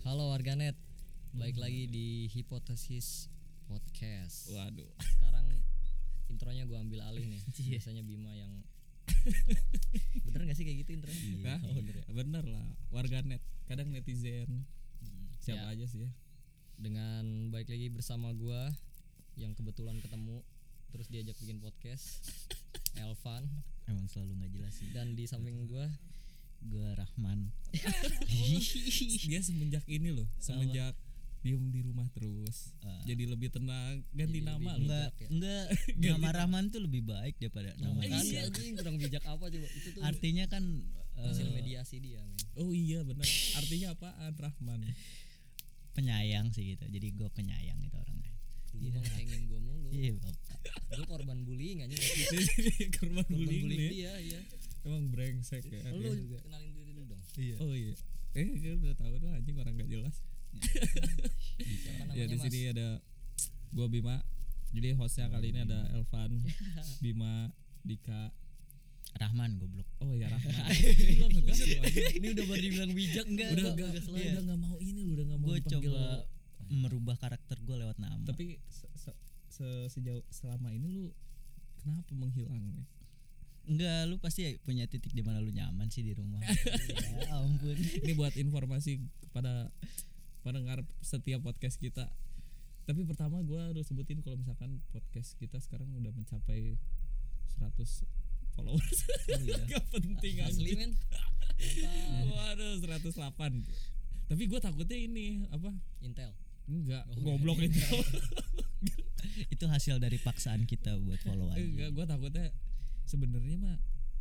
Halo warganet, baik lagi di Hipotesis Podcast. Waduh. Sekarang intronya gua ambil alih nih. Iya. Biasanya Bima yang intro. bener gak sih kayak gitu intronya? Iya. Hah? Oh, bener ya. Bener lah, Nah, warganet. Kadang netizen. Ya. Siapa aja sih ya? Dengan baik lagi bersama gua yang kebetulan ketemu terus diajak bikin podcast. Elvan Emang selalu nggak jelas sih. dan di samping gua Gua Rahman. Dia semenjak ini loh, semenjak diem di rumah terus. Ah. jadi lebih tenang, Jadi ganti nama lebih- loh. Enggak, bijak ya. enggak Ah, nama Rahman tuh lebih baik daripada nama kan Rahman. anjing kurang bijak apa coba itu tuh Artinya kan eh, hasil mediasi dia men. Oh iya bener. Artinya apaan Rahman? penyayang sih gitu. Jadi gua penyayang itu orangnya. Dulu bang pengen gua mulu. Iya, Bapak. Gua korban bullying anjing. Korban Korban bullying, lu bullying ya. dia ya. Emang brengsek ya. Lu dia. juga kenalin diri dulu dong. Iya. Oh iya. Eh, gue udah tahu tuh anjing orang gak jelas. Siapa namanya ya Mas? di Oh, sini ada gua Bima. Jadi hostnya kali ini iya. ada Elvan, Bima, Dika. Rahman goblok. Oh ya Rahman. Lu ngegas lu anjing. Ini udah baru dibilang bijak enggak? udah Gua- gak, gua selalu. udah gak mau ini lu udah gak mau Gua dipanggil. iya. coba merubah karakter gua lewat nama. tapi se- se- se- sejauh selama ini lu kenapa menghilang nih enggak lu pasti punya titik di mana lu nyaman sih di rumah. ya ampun. ini buat informasi kepada pendengar setiap podcast kita tapi pertama gua harus sebutin kalau misalkan podcast kita sekarang udah mencapai 100 followers Oh iya. gak penting Asli asli men. waduh 108 tapi gua takutnya ini apa Intel. enggak iya. Oh, goblok itu Itu hasil dari paksaan kita buat follow aja. enggak gua takutnya sebenarnya mah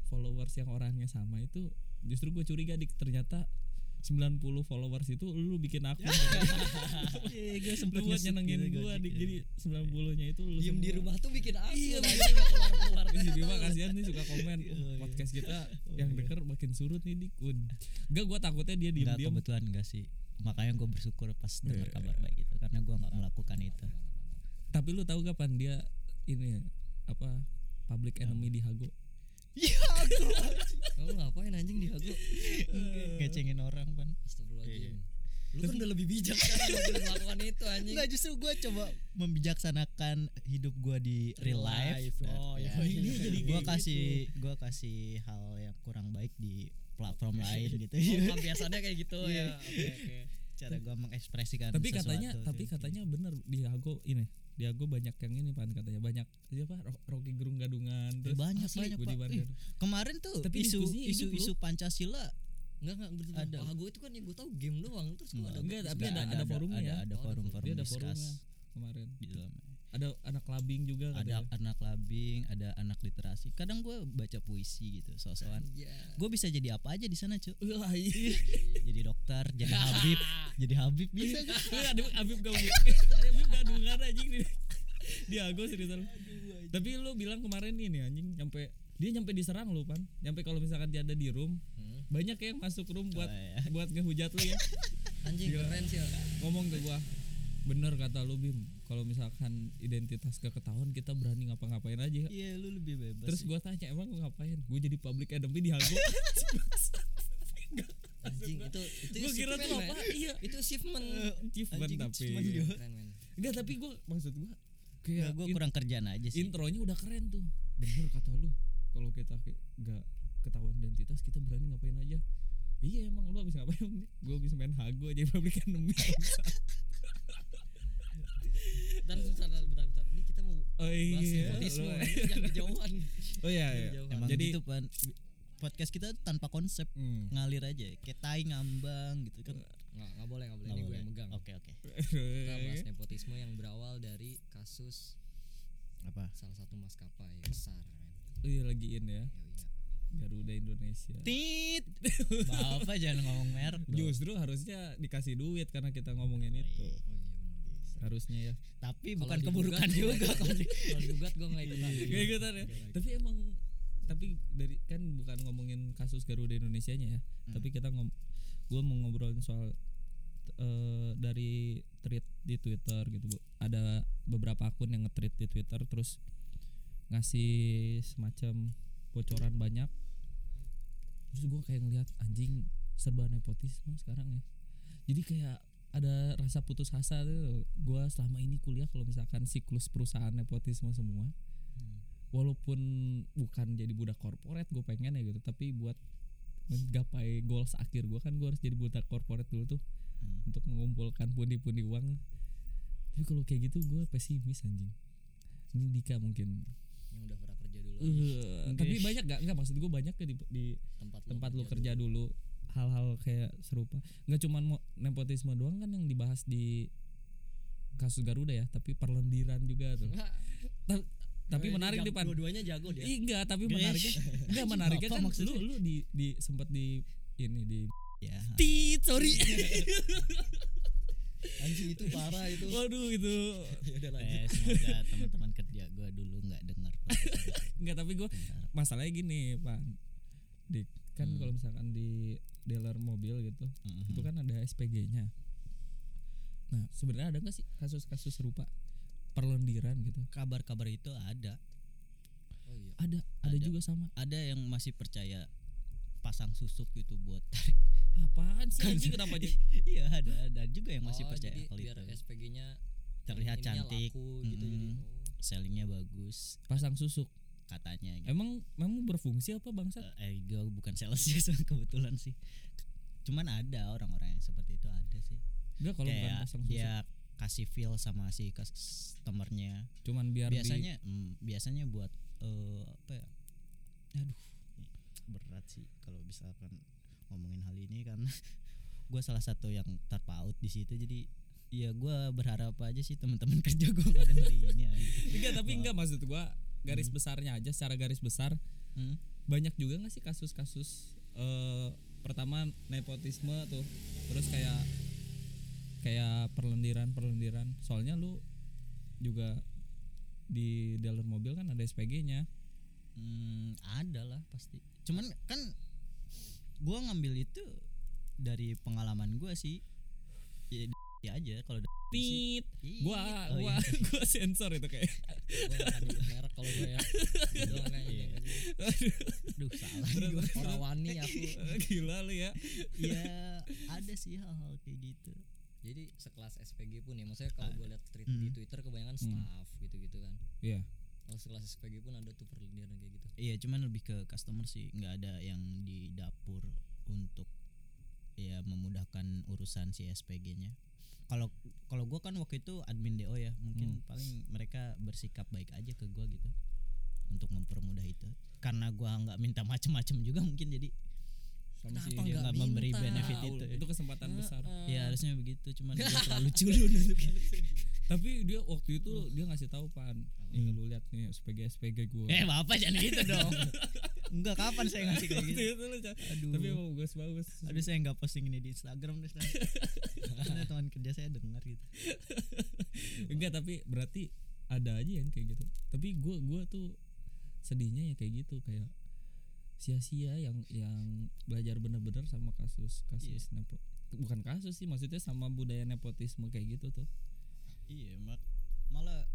followers yang orangnya sama itu justru gue curiga dik ternyata 90 followers itu lu bikin akun Iya, Ya, gua lu sempet buat ngesut nyenengin gitu, gue gocek dik gitu. jadi 90 nya itu lu Diem di semua. rumah tuh bikin aku. Iya, keluar-keluar. Ih, si Bima kasihan nih suka komen "Oh, Iya, iya. podcast kita yang denger makin surut nih dik Ud. enggak gue takutnya dia diem Enggak diem kebetulan enggak sih makanya gue bersyukur pas dengar kabar baik itu karena gue nggak melakukan itu tapi lu tahu kapan dia ini ya, apa public enemy di Hago Kamu ngapain anjing di aku? ngecengin orang pan Astagfirullahaladzim. Lu kan udah lebih bijak kan udah melakukan itu anjing. Nah, Enggak justru gue coba membijaksanakan hidup gue di real life. Oh, Nah, iya. Ini jadi gitu. gue kasih gue kasih hal yang kurang baik di platform lain gitu. iya. Oh, kan biasanya kayak gitu ya. Oke, oke. Cara gue mengekspresikan. tapi sesuatu gitu. katanya tuh. tapi katanya bener di Hago ini di Hago banyak yang ini pan katanya banyak siapa Ro- Rocky Gerung Gadungan Eh, banyak banyak Budi Pak. Wargan. Ih, Kemarin tuh Tapi isu diskusinya hidup isu loh. isu Pancasila Enggak enggak betul. Ada. Ada. Aku itu kan yang gue tahu game doang terus kalau ada Enggak, tapi ada- Nggak, ada forumnya ada, ya. ada Oh, ada forum forum. forum dia ada discuss forumnya kemarin di dalamnya. ada anak labing juga gitu ada katanya. anak labing, ada anak literasi. Kadang gue baca puisi gitu, sosokan. Ya. Gue bisa jadi apa aja di sana, cuy. Wah, iya. jadi dokter, jadi Habib, jadi Habib iya. bisa. gua. Eh, ada Habib kamu. Habib gadungan anjing di di Hago seriusan. Tapi lu bilang kemarin ini anjing nyampe dia nyampe diserang lu pan. Nyampe kalau misalkan dia ada di room, Hmm. banyak yang masuk room buat Oh, iya. buat ngehujat lu ya. Anjing Iya. keren sih. ya. Ngomong ke gua. Bener kata lu Bim, kalau misalkan identitas gak ketahuan kita berani ngapa-ngapain aja. Iya, lu lebih bebas. Terus gua tanya emang lu ngapain? Gua jadi public enemy di Hago. Anjing itu itu Gua kira tuh achievement, apa? men. Iya. Itu achievement. Achievement anjing, tapi. cuman Iya, Keren men. Enggak, tapi gua maksud Nah, gua ya, kayak gue in- kurang kerjaan aja sih. intronya udah keren tuh bener kata lu kalau kita ke- nggak ketahuan identitas kita berani ngapain aja iya emang lu abis ngapain gue abis main hago jadi public enemy Dan bentar, bentar, bentar, bentar. Ini kita mau oh bahas iya nepotisme, lu- jangan kejauhan. oh iya, iya. Jauhan. Emang jadi gitu, Pan. Podcast kita tanpa konsep, hmm. ngalir aja. Kayak tai ngambang gitu kan. Nggak, nggak boleh, nggak boleh. Nggak Ini gue boleh. yang megang. Oke, oke. Kita bahas nepotisme yang berawal dari kasus Apa? salah satu maskapai besar. men. iya lagiin ya Yoi, nggak? Garuda Indonesia Tit. Bapak jangan ngomong merek. dong. justru harusnya dikasih duit karena kita ngomongin itu Oh iya benar. harusnya ya Tapi Kalau kan. bukan digugat, keburukan gua nggak juga. Iya, ikut. Kalau digugat gue nggak ikutan. Gak ikutan ya. Tapi emang tapi dari kan bukan ngomongin kasus Garuda Indonesia nya ya. Hmm. Tapi kita ngom gue mau ngobrolin soal eh, dari tweet di Twitter gitu bu. Ada beberapa akun yang nge-tweet di Twitter terus ngasih semacam bocoran banyak. Terus gue kayak ngelihat anjing serba nepotisme sekarang ya. Jadi kayak ada rasa putus asa tuh gue selama ini kuliah kalau misalkan siklus perusahaan nepotisme semua walaupun bukan jadi budak korporat gue pengen ya gitu tapi buat menggapai goals akhir gue kan gue harus jadi budak korporat dulu tuh Hmm. untuk mengumpulkan pundi-pundi uang tapi kalau kayak gitu gue pesimis anjing ini Dika mungkin yang udah pernah kerja dulu Eh, tapi banyak gak nggak maksud gue banyak ya di, di tempat tempat lu kerja dulu hal-hal kayak serupa nggak cuman mo- nepotisme doang kan yang dibahas di kasus Garuda ya tapi perlendiran juga tuh Wah, Ta- Eh, tapi ini menarik jam- di pan dua-duanya jago dia Ih, enggak tapi Guys. menariknya enggak menariknya Iya. Apa kan maksudnya? lu lu di di sempat di ini di ya tit sorry anjing itu parah itu waduh itu ya udah lanjut eh, semoga teman-teman kerja gue dulu nggak dengar enggak tapi gua masalahnya gini pan di kan Hmm. kalau misalkan di dealer mobil gitu itu kan ada SPG-nya. Nah, sebenarnya ada nggak sih kasus-kasus serupa perlendiran gitu? kabar-kabar itu ada oh iya Ada, ada, Ada. juga sama. ada yang masih percaya pasang susuk gitu buat Apaan sih Kan anjing kenapa jadi? iya ada ada juga yang masih Oh, percaya jadi hal biar itu SPG-nya terlihat ininya cantik laku gitu jadi Mm-mm. oh. sellingnya bagus Pasang susuk. katanya gitu. Emang memang berfungsi apa bangsat? eh gue bukan sales ya so- kebetulan sih cuman ada orang-orang yang seperti itu ada sih Enggak kalau bukan kayak ya pasang susuk. dia kasih feel sama si customernya Cuman biar di, biasanya mm, biasanya buat eh, apa ya aduh berat sih kalau misalkan ngomongin hal ini karena gue salah satu yang terpaut di situ jadi ya gue berharap aja sih teman-teman kerja gue nggak denger ini anjing. enggak tapi enggak Nah. maksud gua garis besarnya aja secara garis besar Hmm. banyak juga nggak sih kasus-kasus eh pertama nepotisme tuh terus kayak kayak perlendiran perlendiran soalnya lu juga di dealer mobil kan ada SPG-nya Hmm, ada lah pasti. Cuman kan gua ngambil itu dari pengalaman gua sih. Ya, d- ya aja kalau d- sih. tit Ih, gua oh gua iya. gua sensor itu kayak Gua akan nyebut merek kalau gue ya Gua doang yang ini, yang ini. Iya. Aduh, salah. Bener, bener. orang wani aku gila lu ya Iya, ada sih hal-hal kayak gitu. jadi sekelas SPG pun ya maksudnya kalau gue lihat tweet di Hmm. Twitter kebanyakan Hmm. staff gitu-gitu kan iya kalau sekelas SPG pun ada tuh perlindaran kayak gitu Iya, cuman lebih ke customer sih, nggak ada yang di dapur untuk ya memudahkan urusan si SPG-nya. Kalau kalau gua kan waktu itu admin DO ya, mungkin paling mereka bersikap baik aja ke gua gitu untuk mempermudah itu. Karena gua nggak minta macem-macem juga mungkin jadi sama Kenapa dia nggak nggak nggak memberi minta? Eh, benefit tahu. itu. itu kesempatan besar Ya harusnya begitu, cuman gua terlalu culun untuk itu. tapi dia waktu itu dia ngasih tahu pan ini lu lihat nih SPG SPG gua Eh, Bapak jangan gitu dong. Enggak kapan saya ngasih kayak Waktu gitu. itu lu ca- Aduh. tapi emang bagus bagus Aduh saya nggak posting ini di Instagram deh. Stan. Karena teman kerja saya dengar gitu. enggak tapi berarti ada aja yang kayak gitu tapi gua gua tuh sedihnya ya kayak gitu kayak sia-sia yang yang belajar bener-bener sama kasus kasus Iya. nepo bukan kasus sih maksudnya sama budaya nepotisme kayak gitu tuh Iya, mak malah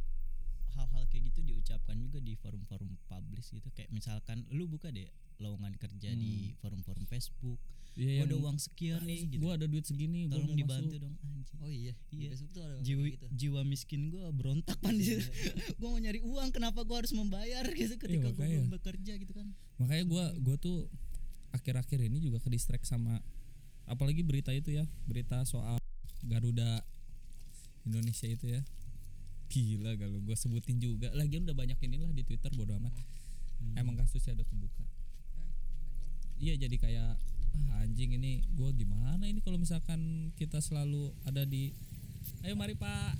hal-hal kayak gitu diucapkan juga di forum-forum publish gitu. Kayak misalkan lu buka deh lowongan kerja di forum-forum Facebook. Hmm. Iya, Gua ada yang, uang sekian nih gitu. gua ada duit segini gua mau Tolong dibantu masuk. dong anjing. oh iya Iya. di Facebook tuh ada Jiwa, gitu jiwa miskin gua berontak pan di Iya. situ. Gua mau nyari uang, kenapa gua harus membayar gitu ketika Iya, gua makanya. belum bekerja gitu kan? makanya gua gua tuh akhir-akhir ini juga ke distract sama apalagi berita itu ya berita soal Garuda Indonesia itu ya gila kalau gua sebutin juga lagian udah banyak inilah di Twitter bodo amat emang kasusnya ada kebuka iya jadi kayak ah, anjing ini gua gimana ini kalau misalkan kita selalu ada di ayo mari pak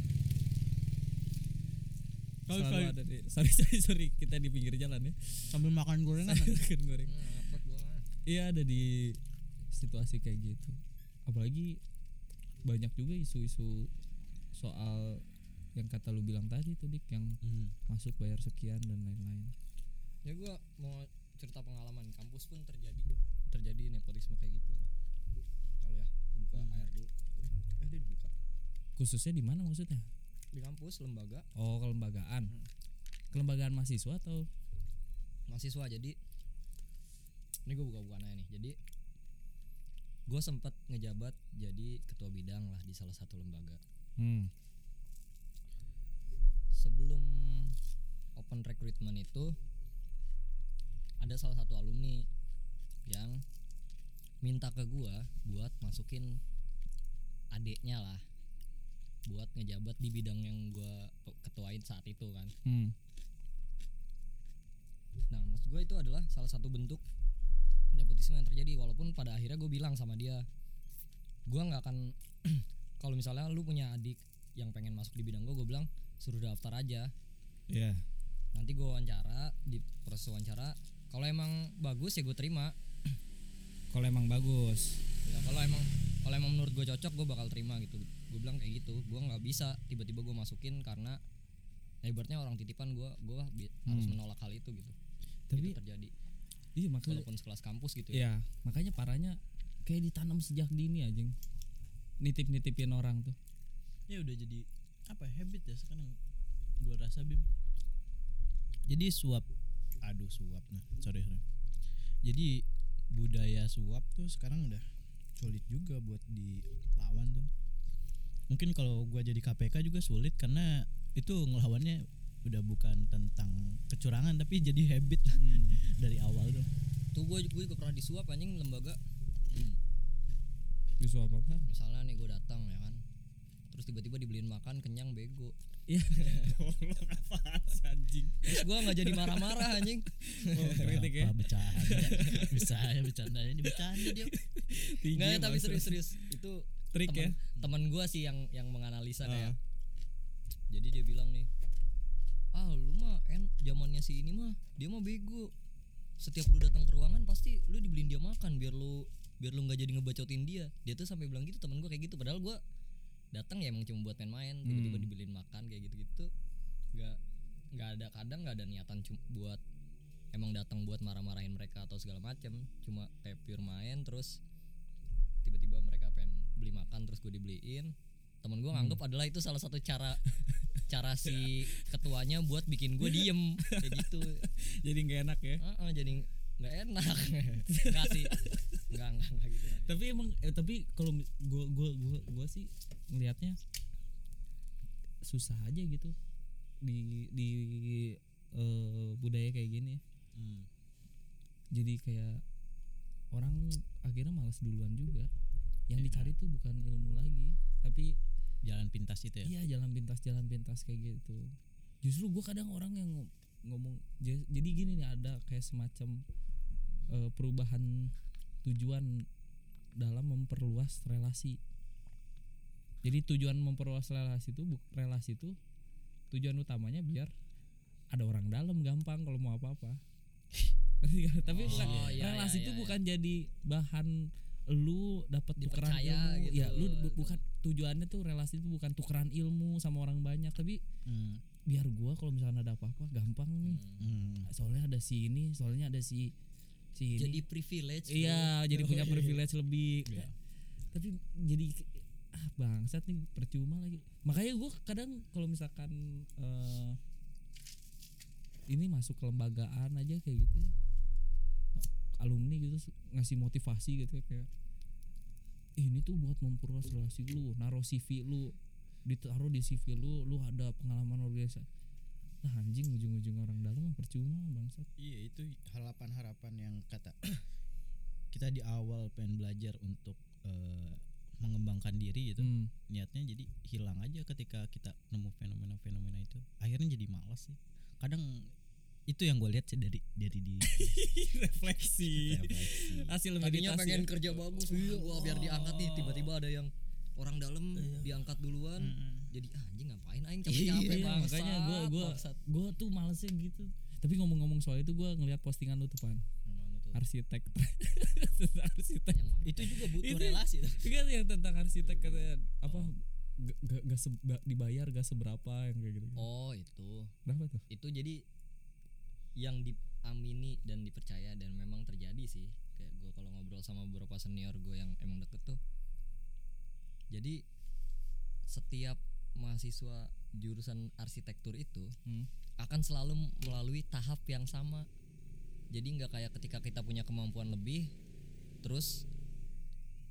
Sorry, selalu sorry. ada di sorry sorry sorry kita di pinggir jalan ya Sambil makan gorengan. Makan goreng hmm, ngapot gue mah Iya ada di situasi kayak gitu. Apalagi banyak juga isu-isu soal yang kata lu bilang tadi tuh dik yang Hmm. masuk bayar sekian dan lain-lain. ya gue mau cerita pengalaman kampus pun terjadi terjadi nepotisme kayak gitu loh kalau ya buka air dulu eh dia dibuka Khususnya di mana maksudnya? di kampus lembaga Oh kelembagaan. Kelembagaan mahasiswa atau mahasiswa jadi ini gue buka bukaan aja nih jadi gue sempat ngejabat jadi ketua bidang lah di salah satu lembaga Hmm. sebelum open recruitment itu ada salah satu alumni yang minta ke gua buat masukin adiknya lah buat ngejabat di bidang yang gua pe- ketuain saat itu kan Hmm. nah maksud gua itu adalah salah satu bentuk nepotisme yang terjadi walaupun pada akhirnya gue bilang sama dia gua nggak akan kalau misalnya lu punya adik yang pengen masuk di bidang gue gue bilang suruh daftar aja Ya. Iya. nanti gue wawancara di proses wawancara kalau emang bagus ya gue terima Kalau emang bagus. Ya, kalau emang kalau emang menurut gue cocok gue bakal terima gitu gue bilang kayak gitu gue nggak bisa tiba-tiba gue masukin karena ya ibaratnya orang titipan gue gue harus Hmm. menolak hal itu gitu Tapi itu terjadi iya maksudnya walaupun sekelas kampus gitu ya ya makanya parahnya kayak ditanam sejak dini aja nitip-nitipin orang tuh ya udah jadi apa ya, habit ya sekarang gua rasa bim jadi suap aduh suap nah sorry sorry jadi budaya suap tuh sekarang udah sulit juga buat dilawan tuh mungkin kalau gua jadi KPK juga sulit karena itu ngelawannya udah bukan tentang kecurangan tapi jadi habit lah dari awal tuh tuh gue gue juga pernah disuap anjing lembaga Isu apa apa misalnya nih gue datang ya kan terus tiba-tiba dibeliin makan kenyang bego Iya. anjing terus gue nggak jadi marah-marah anjing oh, kritik ya Apa bercanda bisa ya bercandanya dibicarain dia Tinggi nggak tapi maksudnya. serius-serius itu trik ya teman teman gue sih yang yang menganalisa Ah. kayak jadi dia bilang nih ah lu mah en zamannya si ini mah dia mah bego setiap lu datang ke ruangan pasti lu dibeliin dia makan biar lu biar lu nggak jadi ngebacotin dia dia tuh sampai bilang gitu teman gue kayak gitu padahal gue datang ya emang cuma buat main-main tiba-tiba Hmm. dibeliin makan kayak gitu-gitu nggak nggak ada kadang nggak ada niatan cuma buat emang datang buat marah-marahin mereka atau segala macem cuma kayak pure main terus tiba-tiba mereka pengen beli makan terus gue dibeliin temen gue nganggep adalah itu salah satu cara cara si ketuanya buat bikin gue diem kayak gitu jadi nggak enak ya Heeh, jadi nggak enak nggak sih nggak nggak nggak gitu lah. tapi emang eh, tapi kalau mi- gua gua gua gua sih ngelihatnya susah aja gitu di di eh, budaya kayak gini ya. jadi kayak orang akhirnya malas duluan juga yang Iya. dicari tuh bukan ilmu lagi tapi jalan pintas gitu itu ya iya jalan pintas jalan pintas kayak gitu justru gue kadang orang yang ngom- ngomong ja- jadi gini nih ada kayak semacam eh, perubahan tujuan dalam memperluas relasi jadi tujuan memperluas relasi itu bu- relasi itu tujuan utamanya biar ada orang dalam gampang kalau mau apa apa Oh, tapi bukan- iya, iya, relasi itu iya, bukan jadi bahan lu dapat tukeran Dipercaya ilmu gitu, ya lu bu- gitu. bukan tujuannya tuh relasi itu bukan tukeran ilmu sama orang banyak tapi Hmm. biar gua kalau misalnya ada apa-apa gampang nih Hmm. Hmm. soalnya ada si ini soalnya ada si si jadi ini privilege bro. iya jadi punya Iya. privilege lebih Iya. tapi jadi ah bangsat nih percuma lagi makanya gua kadang kalau misalkan eh, ini masuk kelembagaan aja kayak gitu ya alumni gitu su- ngasih motivasi gitu ya, kayak ini tuh buat memperluas relasi lu naruh CV lu ditaruh di CV lu lu ada pengalaman organisasi nah anjing ujung-ujung orang dalam mah percuma bangsat Iya itu harapan-harapan yang kata kita di awal pengen belajar untuk eh, mengembangkan diri gitu Hmm. niatnya jadi hilang aja ketika kita nemu fenomena-fenomena itu akhirnya jadi malas sih kadang itu yang gue lihat sih dari dari di refleksi refleksi. hasil tadinya meditasi pengen ya. kerja bagus wah gua biar diangkat nih tiba-tiba ada yang orang dalam diangkat duluan Mm-mm. jadi ah, anjing ngapain aing capek-capek Iya, bangsat, makanya gua gua bangsat. gua tuh malesnya gitu tapi ngomong-ngomong soal itu gua ngeliat postingan lu tuh pan Yang mana tuh? arsitek arsitek Yang mana? itu juga butuh Itu- relasi tuh. kan yang tentang arsitek katanya apa Oh. ga- ga- ga se- ga- dibayar gak seberapa yang kayak gitu oh itu berapa tuh itu jadi yang diamini dan dipercaya dan memang terjadi sih kayak gue kalau ngobrol sama beberapa senior gue yang emang deket tuh jadi setiap mahasiswa jurusan arsitektur itu Hmm. akan selalu melalui tahap yang sama jadi nggak kayak ketika kita punya kemampuan lebih terus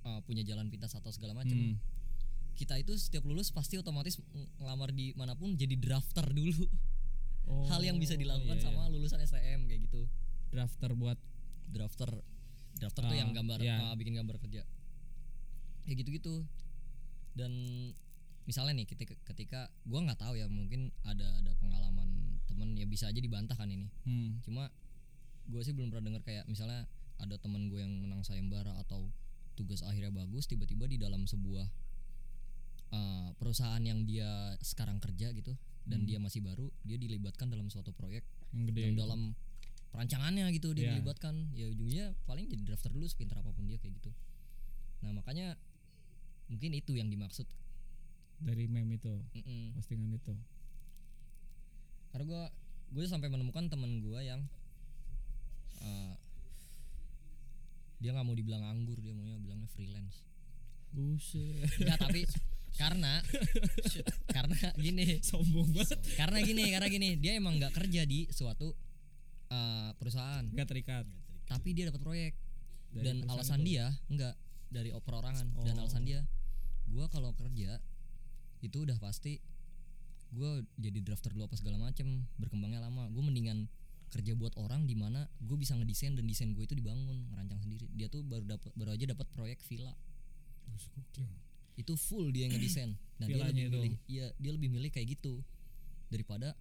eh, punya jalan pintas atau segala macam Hmm. kita itu setiap lulus pasti otomatis ng- ngelamar di manapun jadi drafter dulu hal yang bisa Oh, dilakukan iya, sama iya. lulusan STM kayak gitu drafter buat drafter drafter tuh Ah, yang gambar iya. ah, bikin gambar kerja ya gitu gitu dan misalnya nih ketika ketika gue nggak tahu ya mungkin ada ada pengalaman temen ya bisa aja dibantah kan ini hmm. cuma gue sih belum pernah dengar kayak misalnya ada temen gue yang menang sayembara atau tugas akhirnya bagus tiba-tiba di dalam sebuah uh, perusahaan yang dia sekarang kerja gitu dan Hmm. dia masih baru dia dilibatkan dalam suatu proyek yang gede. gitu. yang dalam perancangannya gitu dia Iya. dilibatkan ya ujungnya paling jadi drafter dulu sepintar apapun dia kayak gitu nah makanya mungkin itu yang dimaksud dari meme itu Mm-mm. postingan itu karena gue gue sampai menemukan temen gue yang eh, dia nggak mau dibilang anggur dia maunya bilangnya freelance buset enggak tapi karena karena gini sombong banget karena gini karena gini dia emang nggak kerja di suatu eh, perusahaan nggak terikat tapi dia dapat proyek Dari dan perusahaan alasan itu. dia enggak dari o- perorangan dan Oh. alasan dia gua kalau kerja itu udah pasti gua jadi drafter dulu apa segala macem berkembangnya lama gue mendingan kerja buat orang di mana gue bisa ngedesain dan desain gue itu dibangun ngerancang sendiri dia tuh baru dapat baru aja dapat proyek villa Buset, gokil. itu full dia yang ngedesain nah dia Villanya lebih itu. milih iya dia lebih milih kayak gitu daripada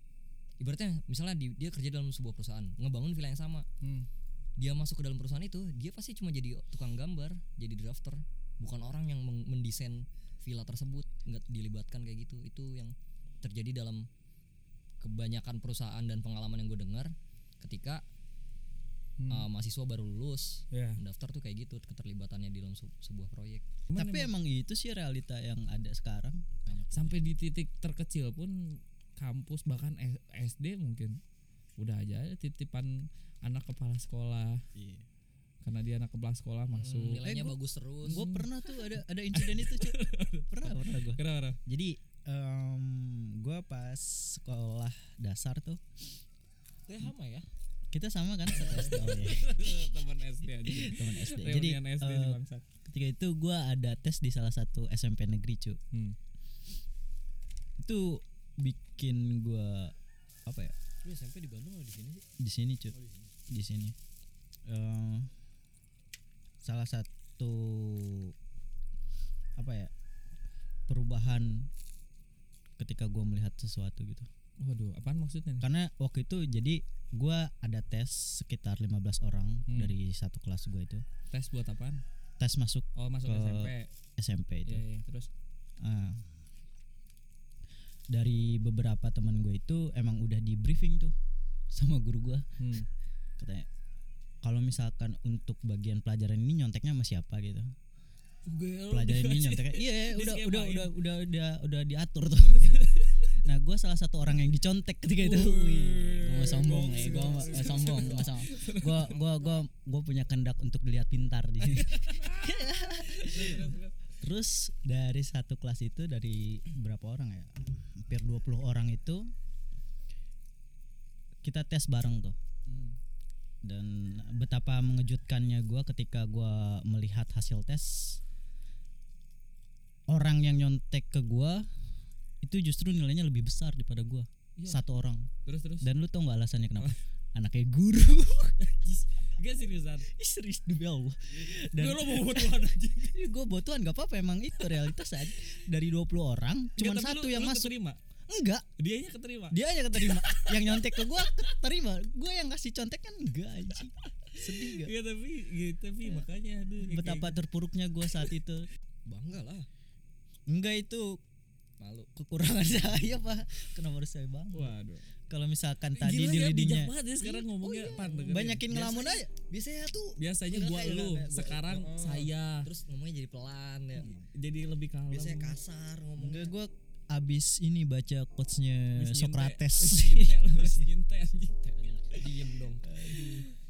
ibaratnya misalnya di- dia kerja dalam sebuah perusahaan ngebangun villa yang sama Hmm. dia masuk ke dalam perusahaan itu dia pasti cuma jadi tukang gambar jadi drafter bukan orang yang meng- mendesain villa tersebut nggak dilibatkan kayak gitu itu yang terjadi dalam kebanyakan perusahaan dan pengalaman yang gue dengar ketika Hmm. uh, mahasiswa baru lulus ya mendaftar tuh kayak gitu keterlibatannya di dalam se- sebuah proyek Cuman tapi emang emang itu sih realita yang ada sekarang sampai di titik terkecil pun kampus bahkan S- SD mungkin udah aja ada titipan anak kepala sekolah iya karena dia anak kepala sekolah masuk Hmm, nilainya Eh, gua- bagus terus gue pernah tuh ada ada insiden itu Cuk. pernah pernah gue kira-kira jadi gue pas sekolah dasar tuh Kayak sama ya kita sama kan satu SD oh iya, teman SD aja teman SD jadi reunian SD eh, sih bangsat ketika itu gue ada tes di salah satu SMP negeri cu hmm. itu bikin gue apa ya lu SMP di Bandung atau di sini sih Oh, di sini cu di sini Eh, salah satu apa ya perubahan ketika gue melihat sesuatu gitu waduh apaan maksudnya nih karena waktu itu jadi gue ada tes sekitar 15 orang Hmm. dari satu kelas gue itu tes buat apaan tes masuk oh masuk Ke- SMP SMP itu Iya, iya. terus Ah. dari beberapa teman gue itu emang udah di briefing tuh sama guru gue hmm. katanya kalau misalkan untuk bagian pelajaran ini nyonteknya sama siapa gitu Gitu. pelajaran ini nyonteknya iya iya, udah Diskemain. udah udah udah udah udah diatur tuh nah gue salah satu orang yang dicontek ketika itu Wih, gue mau sombong eh gue mau serius. sombong gue sombong gue gue gue gue punya kendak untuk dilihat pintar di sini Terus dari satu kelas itu dari berapa orang ya? Hampir 20 orang itu kita tes bareng tuh. Hmm. Dan betapa mengejutkannya gua ketika gua melihat hasil tes orang yang nyontek ke gua itu justru nilainya lebih besar daripada gua. Iya. Satu orang. terus terus Dan lu tau nggak alasannya kenapa? Anaknya guru. gak seriusan Ih, Serius demi Allah. Dan- gue lo mau buat tuan aja gue botuan gak apa-apa emang itu realitas aja dari 20 orang Nggak, cuman Iya, tapi satu lu- yang lu masuk keterima enggak dianya keterima dia aja keterima yang nyontek ke gue keterima gue yang kasih contek kan enggak anjing sedih gak Iya tapi gitu tapi makanya aduh kayak- Iya. betapa terpuruknya gue saat itu bangga lah enggak itu malu kekurangan saya pak kenapa harus saya bang kayak- waduh kalau misalkan Gila ya, tadi di bijak lidinya banget ya sekarang ngomongnya pan dengerin. banyakin ngelamun aja biasanya tuh biasanya Enggak, gua kayak lu enggak ada. Gua- sekarang Heeh. saya terus ngomongnya jadi pelan ya jadi lebih kalem biasanya kasar enggak ngomongnya gue abis ini baca quotesnya Abis Oh, iya. nyintai- Socrates abis nyintai, lu abis nyintai, anjing. diem dong